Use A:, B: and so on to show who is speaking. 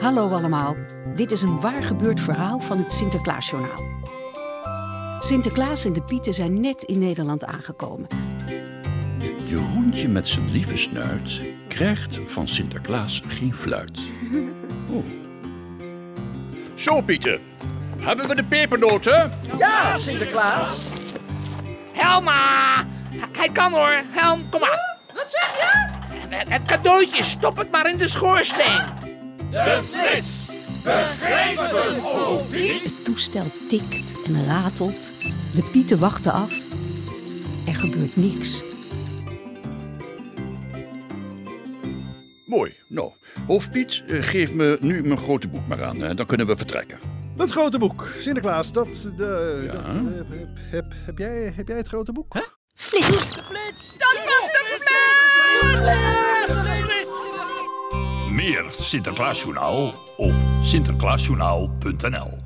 A: Hallo allemaal. Dit is een waar gebeurd verhaal van het Sinterklaasjournaal. Sinterklaas en de Pieten zijn net in Nederland aangekomen.
B: Jeroentje met zijn lieve snuit krijgt van Sinterklaas geen fluit. Oh.
C: Zo, Pieter. Hebben we de pepernoten?
D: Ja, Sinterklaas.
E: Helma! H- Hij kan hoor. Helm, kom maar.
D: Wat zeg je?
E: Het, het cadeautje, stop het maar in de schoorsteen.
A: Het toestel tikt en ratelt. De Pieten wachten af. Er gebeurt niks.
B: Mooi. Nou, hoofdpiet, eh, geef me nu mijn grote boek maar aan. hè. Dan kunnen we vertrekken.
F: Dat grote boek, Sinterklaas, dat... De,
B: Ja?
F: dat, eh, heb, heb, heb, jij, heb jij het grote boek?
A: Flits!
C: Meer Sinterklaasjournaal op sinterklaasjournaal.nl